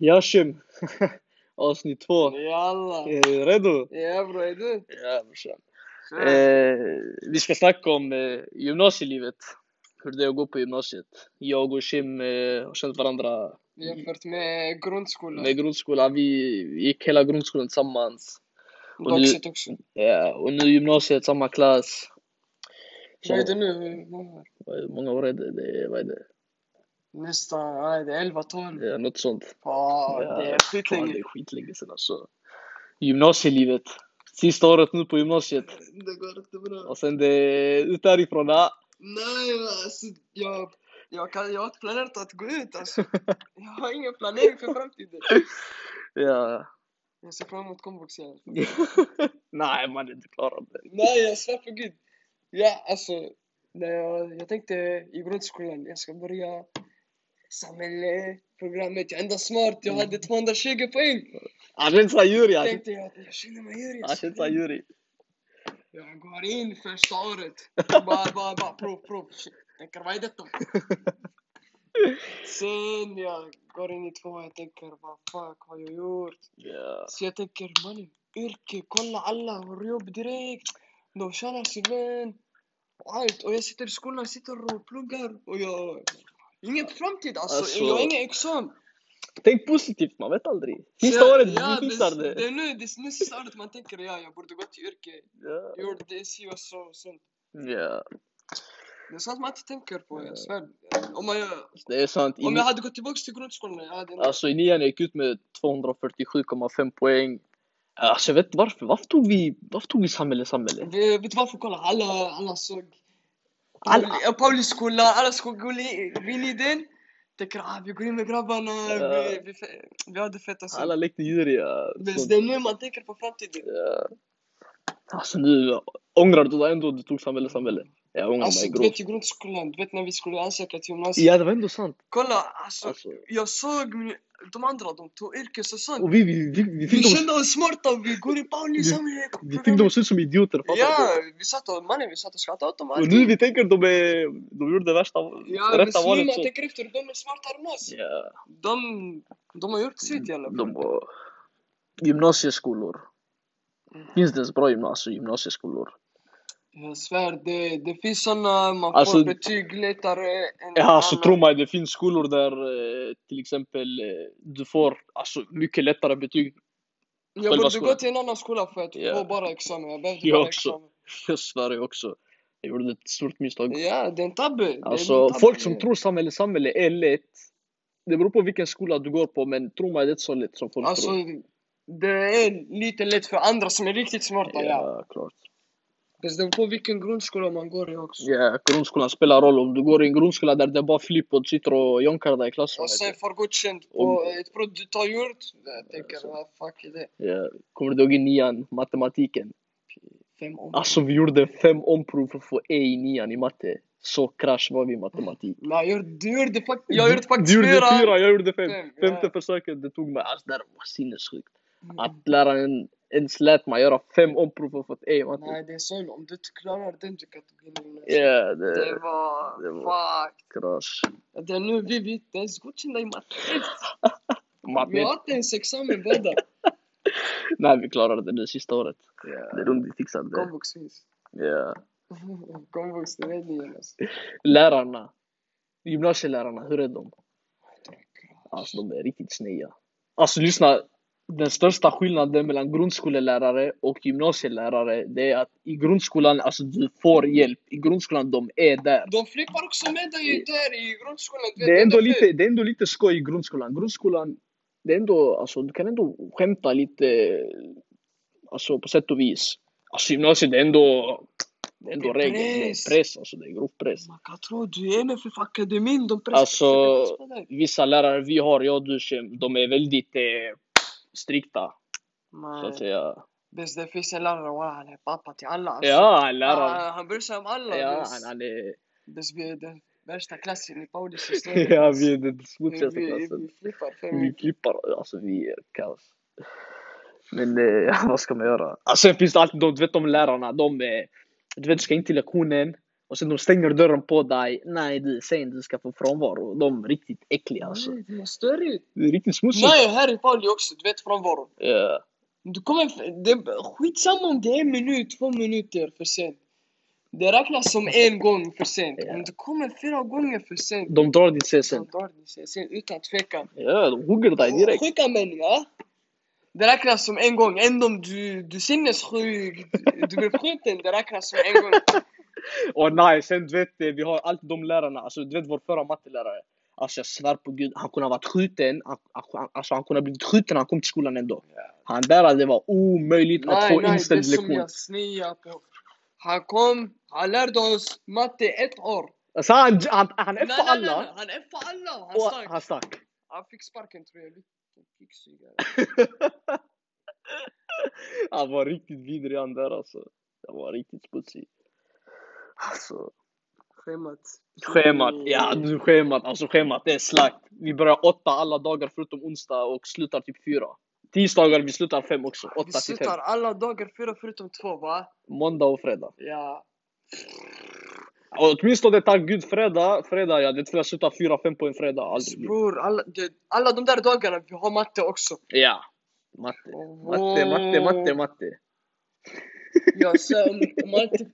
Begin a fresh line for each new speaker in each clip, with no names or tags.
Yashim! Avsnitt två.
Jalla!
Är du redo?
Ja bror, är du?
Ja, brorsan.
Kör.
Eh, vi ska snacka om eh, gymnasielivet. Hur det är att gå på gymnasiet. Jag och Shim eh, har känt varandra
Jämfört med grundskolan.
med grundskolan. Vi gick hela grundskolan tillsammans. och nu-
Doxet också.
Ja, och nu gymnasiet, samma klass. Så,
Vad är det nu? Många.
vad är- många år är det? det är, vad är det?
Nästan, nej det är 11, 12.
Ja, något sånt.
Ja, det
Ja, fan,
är
Det
skitlänge.
är skitlänge sedan alltså. Gymnasielivet. Sista året nu på gymnasiet.
Det går inte bra.
Och sen det ut därifrån. ah,
Nej alltså, jag, jag, kan, jag har inte planerat att gå ut alltså. Jag har ingen planering för framtiden.
Ja.
Jag ser fram emot komvux i alla fall.
Nej, man är inte klar av det.
Nej jag svär på gud. Ja alltså, när jag, jag tänkte i grundskolan, jag ska börja samhällsprogrammet. Jag är ändå smart, jag hade 220 poäng.
Han känns som Juri.
Jag
han känns-
tänkte jag, jag känner mig Jurij.
Han känns som Juri.
Jag går in första året. Bara, bara, bara prov, prov. Shit, Tänker vad är detta? Sen jag går in i tvåan, jag tänker vad fuck har jag gjort?
Ja.
Så jag tänker mannen, yrke, kolla alla har jobb direkt. De tjänar sin lön. Och allt. Och jag sitter i skolan, jag sitter och pluggar. Och jag... Ingen framtid alltså.
Alltså-
Jag har ingen examen.
Tänk positivt, man vet aldrig. Sista
Så-
året,
ja, dus
du fixar
det. Det
det.
är nu, det är nu sista året man tänker ja, jag borde gå till yrke.
Ja.
Jag gjorde det si och så och sånt.
ja.
Det är sånt man inte tänker på, jag svär. Om, man,
Det är sant. I,
om jag hade gått tillbaka till grundskolan, jag hade...
Alltså i nian jag gick ut med 247,5 poäng. Alltså jag vet inte varför. Varför tog vi, varför tog vi samhälle, samhälle?
Vi- Vet du varför? Kolla, alla, alla såg...
Alla-
Pauli- Pauli skola, alla såg Gulli- Gulliden. Tänker ah, vi går in med grabbarna,
Ja.
vi, vi, fe- vi hade fett alltså.
Alla lekte Juri. Ja.
Men
Sånt.
det är nu man tänker på framtiden.
Ja. Alltså nu ångrar du dig ändå att du tog samhälle, samhälle? Jag ångrar
Alltså,
mig
du
grovt.
vet i grundskolan, du vet när vi skulle ansöka till gymnasiet.
Ja, det var ändå sant.
Kolla, alltså,
Alltså.
jag såg min- de andra, de tog yrkes och sånt.
Och vi, vi, vi, vi
Vi
fick dem
kände oss smarta, vi går i Pauli
Vi-
samhälle.
Vi fick dem att se ut som idioter, fattar
Ja,
du?
vi satt och, mannen vi satt och skrattade åt dem
Och nu vi tänker de är... De gjorde det värsta...
Ja, men
rätta
snälla,
valet. Så.
tänk efter, de är smartare än oss.
Ja,
De, de har gjort sitt i alla fall.
de var... Gymnasieskolor. Finns det ens bra gymna- alltså, gymnasieskolor?
Jag svär, det, det finns såna man
Alltså-
får betyg lättare än
Ja, alltså
alla.
tro mig, det finns skolor där eh, till exempel eh, du får alltså, mycket lättare betyg.
Jag
själva
borde
skolan.
gå till en annan skola för att
Ja.
få bara examen. Jag behövde
Jag
bara
också.
examen.
Jag svär jag också. Jag gjorde ett stort misstag.
Ja, det är en tabbe. Det är en
Alltså,
tabbe.
folk som tror samhälle, samhälle är lätt. Det beror på vilken skola du går på, men tro mig, det är inte så lätt som folk
Alltså,
tror.
det är lite lätt för andra som är riktigt smarta, ja.
Ja, klart.
Fast det beror på vilken grundskola man går i också.
Ja, grundskolan spelar roll. Om du går i en grundskola där det bara flippar och sitter och jonkar dig i
Och sen
klassrummet.
får godkänt på ett prov du inte har gjort. Jag tänker, vad fuck är det?
Ja. Kommer du ihåg i nian, matematiken?
Fem om.
Alltså vi gjorde fem omprov för att få E i nian i matte. Så krasch var vi i matematik.
Nej, jag, gjorde- du gjorde fakt- jag gjorde faktiskt
Du gjorde
fyra.
fyra, jag gjorde fem.
Fem, ja.
Femte Ah, försöket, det tog mig... Alltså det här var sinnessjukt. Att läraren ens lät mig göra fem omprov för att få ett E i matte.
Nej, det är synd. Om du inte klarar den du kan inte gå in.
Ja,
Det
det...
var...
det
Fuck.
Krasch.
Det är nu vi vi inte ens godkända i matte. Vi
Matte.
har inte ens examen båda.
Nej, vi klarade det nu sista året. Det är runt vi fixade det.
Komvux finns.
Ja.
Komvux, det är ni alltså.
Lärarna, gymnasielärarna, hur är de? Alltså de är riktigt sneda. Alltså lyssna, den största skillnaden mellan grundskolelärare och gymnasielärare det är att i grundskolan, alltså du får hjälp. I grundskolan, de är där.
De flippar också med dig där i grundskolan. du vet,
Det är ändå
ända fel.
lite, det är ändå lite skoj i grundskolan. Grundskolan, det är ändå, alltså du kan ändå skämta lite, alltså på sätt och vis. Alltså gymnasiet, det är ändå, det är ändå
Det är
regler. Det
press.
är press, alltså det är grov press.
Man kan tro du är med för akademin. De pressar
Alltså-
försöker pressa dig.
vissa lärare vi har, jag och du, Shem, de är väldigt eh, strikta, så att
Nej.
säga.
Bäst det finns en lärare, walla, han är pappa till alla. alltså.
Ja, läraren.
Ah, Han bryr sig om alla.
Ja,
bäst-
han, han är...
Bäst vi är den värsta klassen i Paulis
Ja, vi är den
Vi-
smutsigaste
vi-
klassen.
Vi flippar för
Vi
mycket.
klippar, alltså vi är kaos. Men eh, ja, vad ska man göra? Alltså, sen finns det alltid de, du vet de lärarna, de... eh, Du vet, du ska in till lektionen Och sen de stänger dörren på dig. Nej du, säg inte du ska få frånvaro. De är riktigt äckliga alltså.
Nej, det är störigt.
Det är riktigt smutsigt.
Nej, här i Bali också, du vet frånvaron.
Ja.
Du kommer... f- Det, skitsamma om det är en minut, två minuter för sent. Det räknas som en gång för sent.
Ja.
Om du kommer fyra gånger för sent,
De drar ditt CSN.
då drar ni sig sen utan tvekan.
Ja, de hugger dig direkt.
Sjuka människor. Det räknas som en gång, även om du, du är sinnessjuk, du- du blir skjuten, det räknas som en gång.
Och nej, sen du vet, eh, vi har alltid de lärarna. Alltså du vet vår förra mattelärare. Alltså jag svär på gud, han kunde ha varit skjuten. Han, han, alltså han kunde ha blivit skjuten när han kom till skolan ändå. Han där, det var omöjligt att
Nej,
få
nej, det är
inställd
som
lektion.
jag snear på. Han kom, han lärde oss matte ett år.
Alltså han, han, han
Nej,
F-ar
nej, nej, nej,
alla.
han F-ar alla! Han
Och han
stack.
stack.
Han fick sparken tror jag. Vilken ficksugare.
Han var riktigt vidrig han där alltså. Han var riktigt smutsig. Alltså.
Schemat. Mm.
Schemat, ja du schemat, alltså schemat det är slakt. Vi börjar åtta alla dagar förutom onsdag och slutar typ fyra. Tisdagar vi slutar fem också,
Vi
åtta till fem.
slutar alla dagar fyra förutom två va?
Måndag och fredag.
Ja.
Och åtminstone tack gud fredag, fredag ja det tror jag slutar fyra, fem på en fredag. Aldrig. blir.
Bror, alla, det, alla de där dagarna vi har matte också.
Ja. Matte, matte, matte, matte, matte.
Jag svär om, om man inte,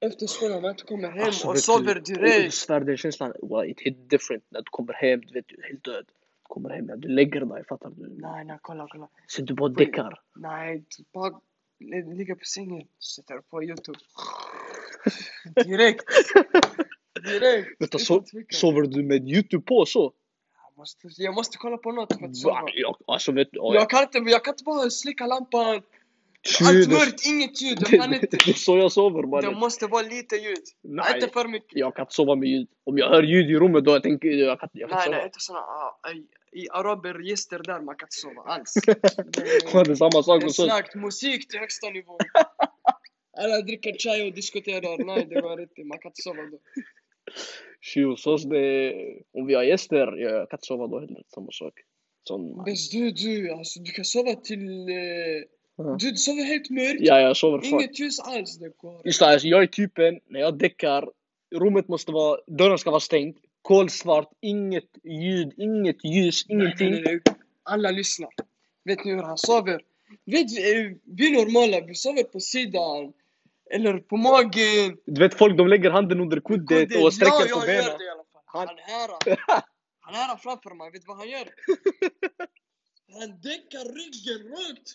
efter skolan man inte kommer hem
Alltså,
och
vet
sover
du, Jag
direkt.
svär den känslan, wow, it hit different när du kommer hem, du vet du är helt död. Du kommer hem, ja, du lägger dig, fattar du?
Nej, nej, kolla, kolla.
Sen du bara däckar.
Nej, du bara li- ligger på sängen, sätter på youtube. Direkt! Direkt!
Vänta,
utan
so
tvekan.
sover du med youtube på så?
Jag måste, jag måste kolla på något för att
Va?
sova.
Jag, alltså vet du, ja,
Jag kan inte, jag kan inte bara släcka lampan. Allt
Ljud-
mörkt, inget ljud. Jag kan
Det
inte.
det är så jag sover
Det
mannen.
måste vara lite ljud.
Nej,
Inte för mycket.
jag kan inte sova med ljud. Om jag hör ljud i rummet då jag tänker jag kan, jag kan
Nej,
inte
nej,
sova.
inte såna ah, i- i araberregister där man kan inte sova alls.
Ja, Det är samma sak
Det är
hos oss.
slakt, musik till högsta nivå. Alla dricker chai och diskuterar. Nej, det går inte. Man kan inte sova då.
Tjo, Hos oss det är- om vi har gäster, jag kan inte sova då heller. Samma sak. Sån,
Bäst du, du, alltså du kan sova till... Eh,
Ja.
du, du sover helt mörkt.
ja, jag sover fuck.
Inget ljus alls, det går.
Just det, alltså, jag är typen, när jag däckar, rummet måste vara, dörren ska vara stängd. Kolsvart, inget ljud, inget ljus, ingenting.
Nej, nej, nej. Alla lyssnar. Vet ni hur han sover? Vet, eh, vi normala, vi sover på sidan. Eller på magen.
Du vet folk, de lägger handen under kuddet
Kudde.
och sträcker
ja,
på
jag gör
benen.
det i alla fall.
Han-
Han här, han här framför mig, vet du vad han gör? Han däckar ryggen rakt.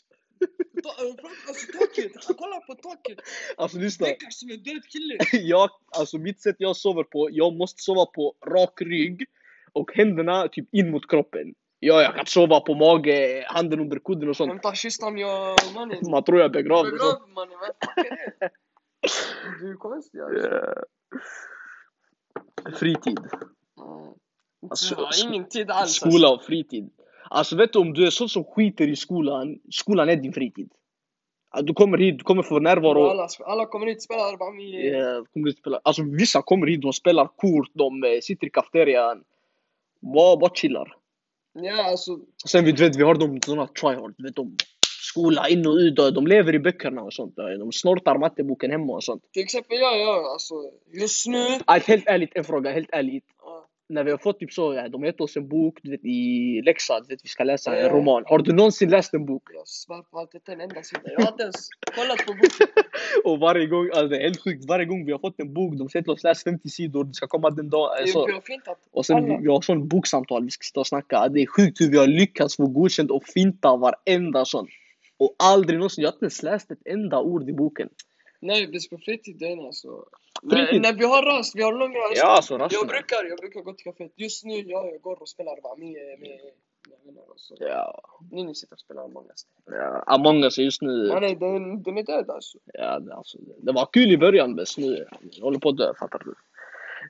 Ta- eh, fram- Alltså taket, han kollar på taket.
Alltså lyssna.
Däckar som en död kille.
jag, alltså mitt sätt jag sover på, jag måste sova på rak rygg och händerna typ in mot kroppen. Ja, jag kan sova på mage, handen under kudden och sånt.
Hämta kistan jag eh, mannen.
Man tror jag är begravd. och sånt.
Begrav mannen, vad fan är det? Du är konstig alltså.
Eh, Fritid.
Mm.
Alltså,
Du har ingen tid alls. alltså.
Skola och fritid. Alltså vet du, om du är sån som skiter i skolan, skolan är din fritid. Att Du kommer hit, du kommer få närvaro.
Alla, alla kommer hit och spelar 400.
Eh, kommer hit och spelar. Alltså vissa kommer hit, de spelar kort, de eh, sitter i kafeterian. Bara, bara chillar.
Ja, alltså.
Sen vi, du vet, vi har de såna tryhard, du vet de skola in och ut, och de lever i böckerna och sånt. De snortar matteboken hemma och sånt.
Till exempel jag, jag alltså. Just nu.
Alltså, helt ärligt, en fråga, helt ärligt.
ja.
När vi har fått typ så, ja, de har gett oss en bok du vet, i läxa, du vet, vi ska läsa en
Ja.
roman. Har du någonsin läst en bok?
Jag svär på allt, inte en enda sida. Jag har inte ens kollat på boken.
Och varje gång, alltså det är helt sjukt, varje gång vi har fått en bok, de säger till oss läs 50 sidor, det ska komma den dagen.
Det
eh, Så.
är fint att
Och sen
alla-
vi, vi har sån boksamtal, vi ska sitta och snacka. Det är sjukt hur vi har lyckats få godkänt och finta varenda sån. Och aldrig någonsin, jag har inte ens läst ett enda ord i boken.
Nej, det är på fritiden alltså.
Fritid?
När, när vi har rast, vi har lång rast.
Ja, alltså
jag
rasterna.
brukar, jag brukar gå till kaféet. Just nu, ja, jag går och spelar bara med, med, med vänner och så.
Ja,
Ni, ni sitter och spelar många ställen.
ja. Among us är just nu,
Ja, nej, den, den är död alltså.
ja, det- alltså, det var kul i början men nu jag håller på att dö, fattar du?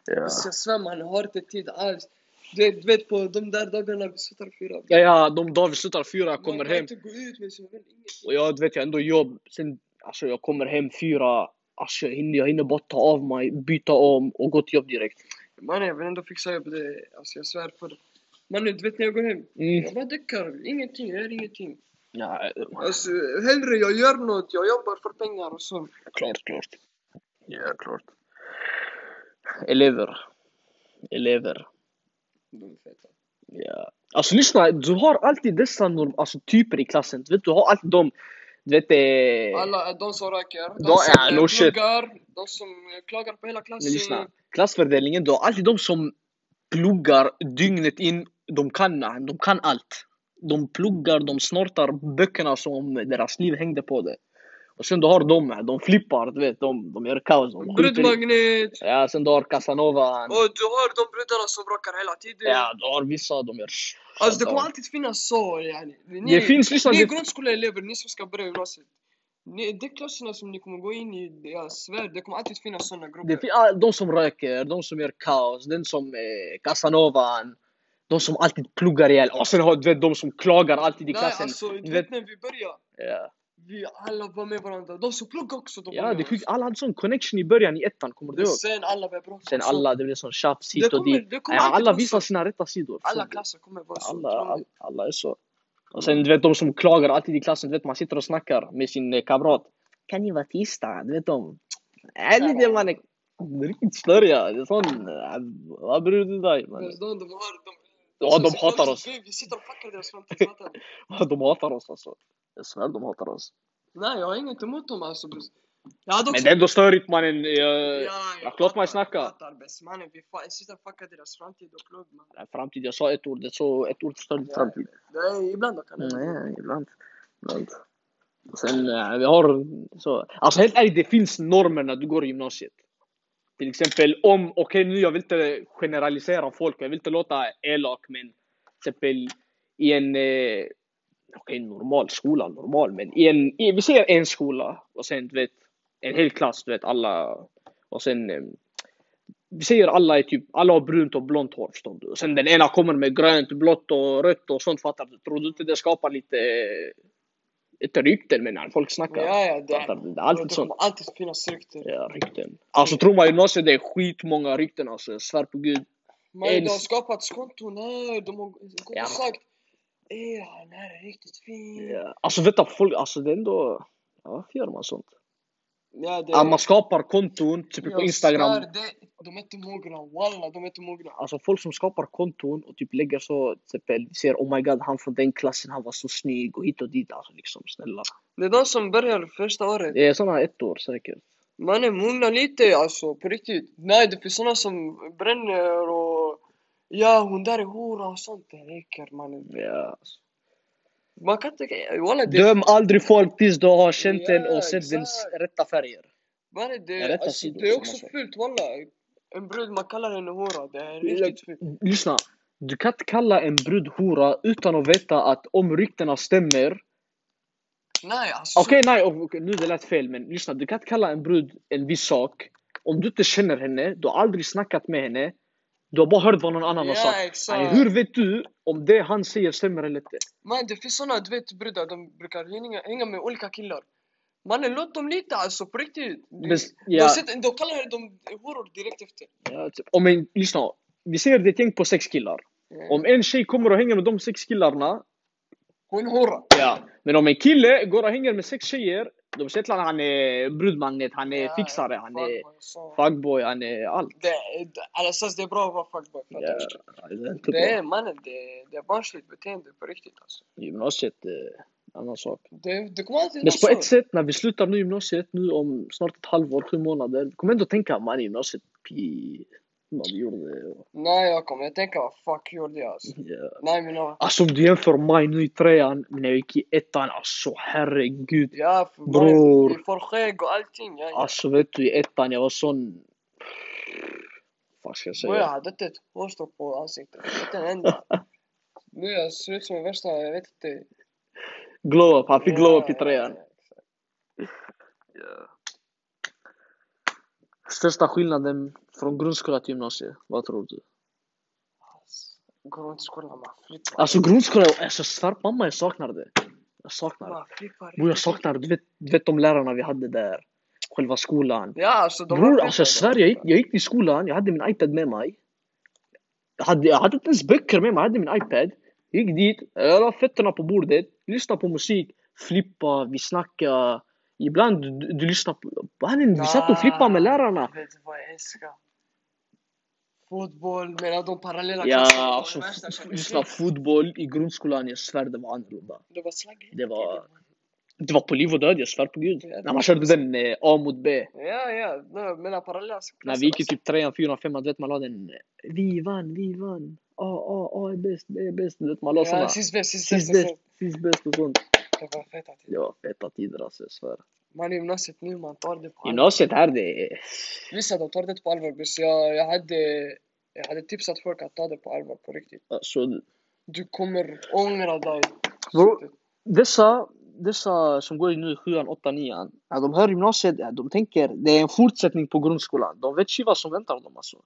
Ja.
Så jag svär, man har inte tid alls. Du vet- du vet, på de där dagarna vi sitter fyra.
Ja, ja, de dagar vi slutar fyra, jag kommer
man
hem
Man kan inte gå ut med sina vänner, ingenting.
och jag du vet jag har ändå jobb. Sen, alltså jag kommer hem fyra, alltså jag hinner, jag hinner bara ta av mig, byta om och gå till jobb direkt.
Mannen, jag vill ändå fixa jobb. Det, alltså, jag svär på det. Mannen, du vet när jag går hem.
Mm.
Jag bara däckar. Ingenting, jag gör ingenting.
Ja,
Alltså, hellre jag gör något, jag jobbar för pengar och så.
klart, klart. Ja, klart. Elever. Elever.
De är feta.
Ja. Alltså lyssna, du har alltid dessa norm, alltså, typer i klassen. Du vet, du har alltid de, du vet... Eh...
Alla eh, de som röker, de
Då-
som
ja,
eh,
no shit.
pluggar, de som eh, klagar på hela klassen.
Men lyssna, klassfördelningen, du har alltid de som pluggar dygnet in, de kan, de kan allt. De pluggar, de snortar böckerna som deras liv hängde på det. Och sen du har de, de flippar, du vet, de, de gör kaos. De skiter i-
Brudmagnet!
Ja, sen du har Casanova,
Och du hör de brudarna som bråkar hela tiden.
ja, du har vissa, de gör...
Alltså det kommer alltid finnas så yani. Ni,
Det finns, lyssna,
ni är
det,
grundskoleelever, ni som ska börja gymnasiet. Ni, de klasserna som ni kommer gå in i, det- jag svär, det kommer alltid finnas såna grupper.
det finns ah, de som röker, de som gör kaos, den som eh, Casanovan, de som alltid pluggar ihjäl. Och sen har du vet, de som klagar alltid i
Nej
klassen.
alltså, du
Du
vet
vet-
när vi började,
Ja.
vi alla var med varandra. De som pluggade också, de var
Ja, det
med
är
varandra.
sjukt. Alla hade sån connection i början i ettan, kommer du ihåg?
Sen alla började bråka.
Sen
och så.
alla, det blev sån tjafs
Det
hit och
kommer,
dit.
det kommer
Ja,
alltid
alla
vara så.
visar sina rätta sidor.
Alla
Förstår du?
klasser kommer vara så.
alla,
tror jag.
alla, alla är så. Och sen du vet de som klagar alltid i klassen, du vet man sitter och snackar med sin eh, kamrat. Kan ni vara tysta? Du vet de. Är ni det mannen? De är Riktigt störiga. Det är sån... eh, Vad bryr du dig mannen?
Men de- de har- de-
Ja, de
så-
hatar oss.
Vi sitter och fuckar deras framtid, fattar du?
De hatar oss alltså. Jag svär de hatar oss.
Nej, jag har inget emot dem alltså. bror. Jag hade
Men
också
det är ändå störigt mannen. Jag...
Ja,
Ja, klart man snackar.
Jag fattar bäst. Mannen, vi fa- sitter och fuckar deras framtid och plugg. Man.
Framtid, jag sa ett ord. Det är så ett ord förstör ditt
Ja.
framtid.
Nej, ibland kan det.
Nej, ibland. ibland. Sen eh, vi har så. Alltså helt ärligt, det finns normer när du går i gymnasiet. Till exempel om, okej nu jag vill inte generalisera folk, jag vill inte låta elak men till exempel i en, eh, okej normal skola, normal men i en, i, vi ser en skola och sen du vet en hel klass, du vet alla och sen eh, vi säger alla är typ, alla har brunt och blont hår förstår du. Och sen den ena kommer med grönt, blått och rött och sånt fattar du. Tror du inte det skapar lite, eh, ett rykten menar folk snackar?
Ja, ja, det
Fattar du? Det är alltid
det
sånt.
kommer alltid finnas rykten.
Ja, rykten.
Mm.
Alltså tror man gymnasiet, det är skitmånga rykten alltså. Jag svär på gud.
Men
En-
de har skapat konton här, de har gått och
Ja.
sagt Ey, han här är riktigt fin. Ja,
Ja. Alltså vänta, folk, alltså det är ändå... Ja, varför gör man sånt?
det
Ja, man skapar konton, typ på
Jag
Instagram.
svär, det, de är inte mogna, walla, de är inte mogna.
Alltså folk som skapar konton och typ lägger så, till exempel, ser oh my god han från den klassen, han var så snygg och hit och dit. Alltså liksom snälla.
Det är de som börjar första året.
Det är såna ett år säkert.
Man är mogna lite alltså, på riktigt. Nej, det finns såna som bränner och... Ja, hon där är hora och sånt. Det räcker mannen.
Ja.
Man kan inte... Walla, det...
Döm aldrig folk tills du har känt den
Ja,
och sett dens
exakt.
rätta färger.
Mannen,
Ja,
det,
rätta
alltså,
sidor
det är
som
också
man säger.
fult walla. En brud, man kallar henne hora. Det är riktigt fult.
Lyssna, du kan inte kalla en brud hora utan att veta att om ryktena stämmer
Nej, alltså.
Okej, nej, och- okej, nu det lät fel, men lyssna. Du kan inte kalla en brud en viss sak om du inte känner henne, du har aldrig snackat med henne, du har bara hört vad någon annan har
Ja,
sagt.
exakt.
Alltså, Hur vet du om det han säger stämmer eller inte?
Man, det finns såna, du vet, brudar. De brukar hänga, hänga med olika killar. Mannen, låt dem lite alltså, på riktigt.
Men,
De,
ja,
sitter, de kallar dem horor direkt efter.
ja, typ, om en, lyssna, vi ser det är ett gäng på sex killar. Om en tjej kommer och hänger med de sex killarna,
Hon hora.
ja. Men om en kille går och hänger med sex tjejer, de säger till honom han är brudmagnet, han är fixare, han är fuckboy, han är allt.
Det, det, alla sas det är bra att vara fuckboy. fattar
Ja,
du?
det är inte
Det är
bra.
mannen, det, det är barnsligt beteende på riktigt alltså.
Gymnasiet, eh, annan sak.
Det, det kommer alltid
Men på
vara
ett
så.
sätt, när vi slutar nu gymnasiet, nu om snart ett halvår, sju månader, vi kommer ändå tänka man i gymnasiet, pi, vad vi gjorde. och-
Nej jag kommer jag tänka vad fuck gjorde jag alltså.
Ja.
Nej men jag...
Alltså om du jämför mig nu i trean, men när jag gick i ettan, alltså herregud.
Ja, för
Bror. Ah,
mannen, vi får skägg och allting. Ja, ja.
Alltså vet du, i ettan jag var sån... Vad ska jag
Bror jag
säga?
hade inte ett hårstrå på ansiktet. Inte en enda. Nu jag ser ut som en värsta, jag vet inte.
Glow up, han fick glow up i
Ja, ja,
trean.
ja, exakt.
Största skillnaden från grundskola till gymnasiet, vad tror du?
Alltså, Grundskolan, man flippar.
Alltså grundskola, alltså jag svär på mamma jag saknar det. Jag saknar det.
Man flippar.
Bror jag saknar, du vet, du vet de lärarna vi hade där. Själva skolan.
Ja alltså de
Bror
var
alltså jag
feta, de var
svär, jag gick,
feta.
jag gick till skolan, jag hade min يعني iPad med mig. Jag hade, jag hade inte ens böcker med mig, jag hade min iPad. Jag gick dit, jag la fötterna på bordet, lyssnade på musik, flippa, vi snackade. Ibland du, du lyssnade på... Mannen, vi satt och flippade med lärarna.
Vet du vad jag älskar? fotboll mellan de parallella
Ja,
var det
alltså
värsta jag
f-
kände
lyssna,
till.
fotboll i grundskolan, jag svär det var annorlunda.
Det var slaggigt.
Det var- Det var på liv och död, jag svär på gud.
Ja.
När man körde den eh, A mot B.
Ja, ja. nej, Mellan parallella klasser.
När vi gick i typ trean, fyran, femman, du vet man la den... eh, Vi vann, vi vann. A, A, A är bäst, B är bäst. Du vet man la
alltså.
såna.
Ja, sist bäst, sist bäst.
Sist
alltså.
bäst, sist bäst och sånt.
Det var feta tider.
Det var feta tider alltså, jag svär.
Man i gymnasiet nu, man tar det på allvar.
Gymnasiet här, det är...
Vissa de tar det på allvar, men jag, jag hade... Jag hade tipsat folk att ta det på allvar på riktigt.
Alltså,
Du kommer ångra dig.
Bro. Dessa, dessa som går nu i sjuan, åttan, nian, när de hör gymnasiet, ja, de tänker det är en fortsättning på grundskolan. De vet ju vad som väntar dem alltså.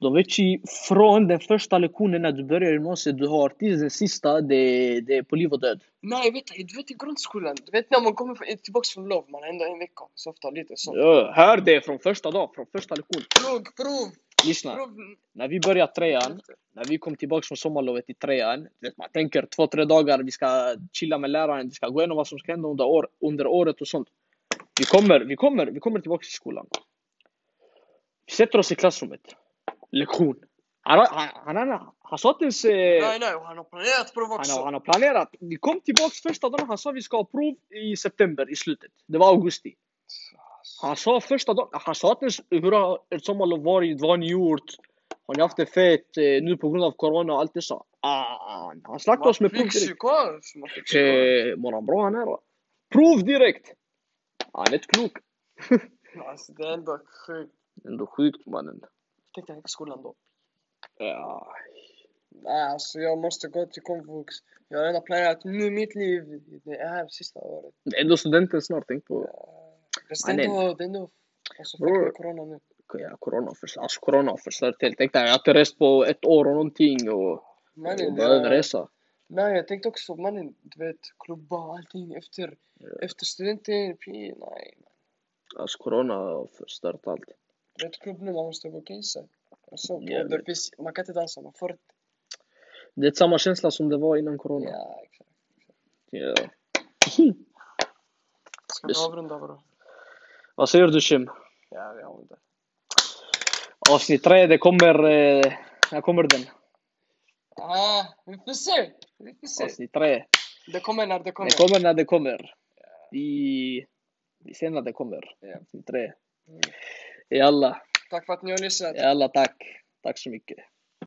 De vet ju från den första lektionen när du börjar gymnasiet du har till den sista, det, det är på liv och död.
Nej, vet du, du vet i grundskolan, du vet när man kommer från- tillbaka från lov, man har ändå en vecka, så ofta lite så.
Ja, hör det från första dagen, från första lektionen.
Prov, prov,
Lyssna,
prov.
när vi började trean, när vi kom tillbaka från sommarlovet i trean, du vet, man tänker två, tre dagar, vi ska chilla med läraren, vi ska gå igenom vad som ska hända under, år, under året och sånt. Vi kommer, vi kommer, vi kommer tillbaka till skolan. Vi sätter oss i klassrummet. Lektion. Han, har- han, han, han, han sa inte ens... eh,
Nej, nej, och han har planerat prov
Han har,
också.
han har planerat. Vi kom tillbaka första dagen, han sa vi ska ha prov i september, i slutet. Det var augusti.
Alltså,
Han sa första dagen, han sa inte ens hur har ert sommarlov varit, vad har ni gjort? Har ni haft det fett eh, nu på grund av corona och allt det så? Ah, han slaktade oss med prov direkt.
psykos, man fick psykos.
Eh, Våran bror han är va? Prov direkt! Ah, Han är inte klok.
Alltså det är ändå sjukt.
Ändå sjukt mannen.
Tänk dig skolan då.
Ja,
Nej, alltså jag måste gå till komvux. Jag har redan planerat nu mitt liv. Det är här sista året.
det är ändå studenten snart, tänk på.
Fast det
Ja,
är
nej.
ändå, det är ändå. Alltså fuck
Bror.
med corona nu.
Ja, corona har förstört, alltså, corona har förstört helt. Tänk dig, jag har inte rest på ett år och någonting och, och
Mannen,
behöver
jag,
resa.
nej jag tänkte också mannen, du vet klubba och allting efter, efter studenten. P, nej.
Alltså corona har förstört allt.
Det är ett klubb nu, man måste boka in sig. Alltså, och
Jävligt.
det finns, man kan inte dansa, man får inte.
Det är samma känsla som det var innan corona.
Ja, exakt.
Ja.
Ska
Just-
vi avrunda bror?
Vad säger du Shim?
Ja, vi avrundar.
Avsnitt tre, det kommer... Eh, när kommer den?
Ah, vi får se! Vi får se.
Avsnitt tre.
Det kommer när det kommer.
Det kommer när det kommer. Vi, vi ser när det kommer.
Ja.
Avsnitt tre.
Mm.
Jalla,
Tack för att ni har lyssnat.
jalla tack. Tack så mycket.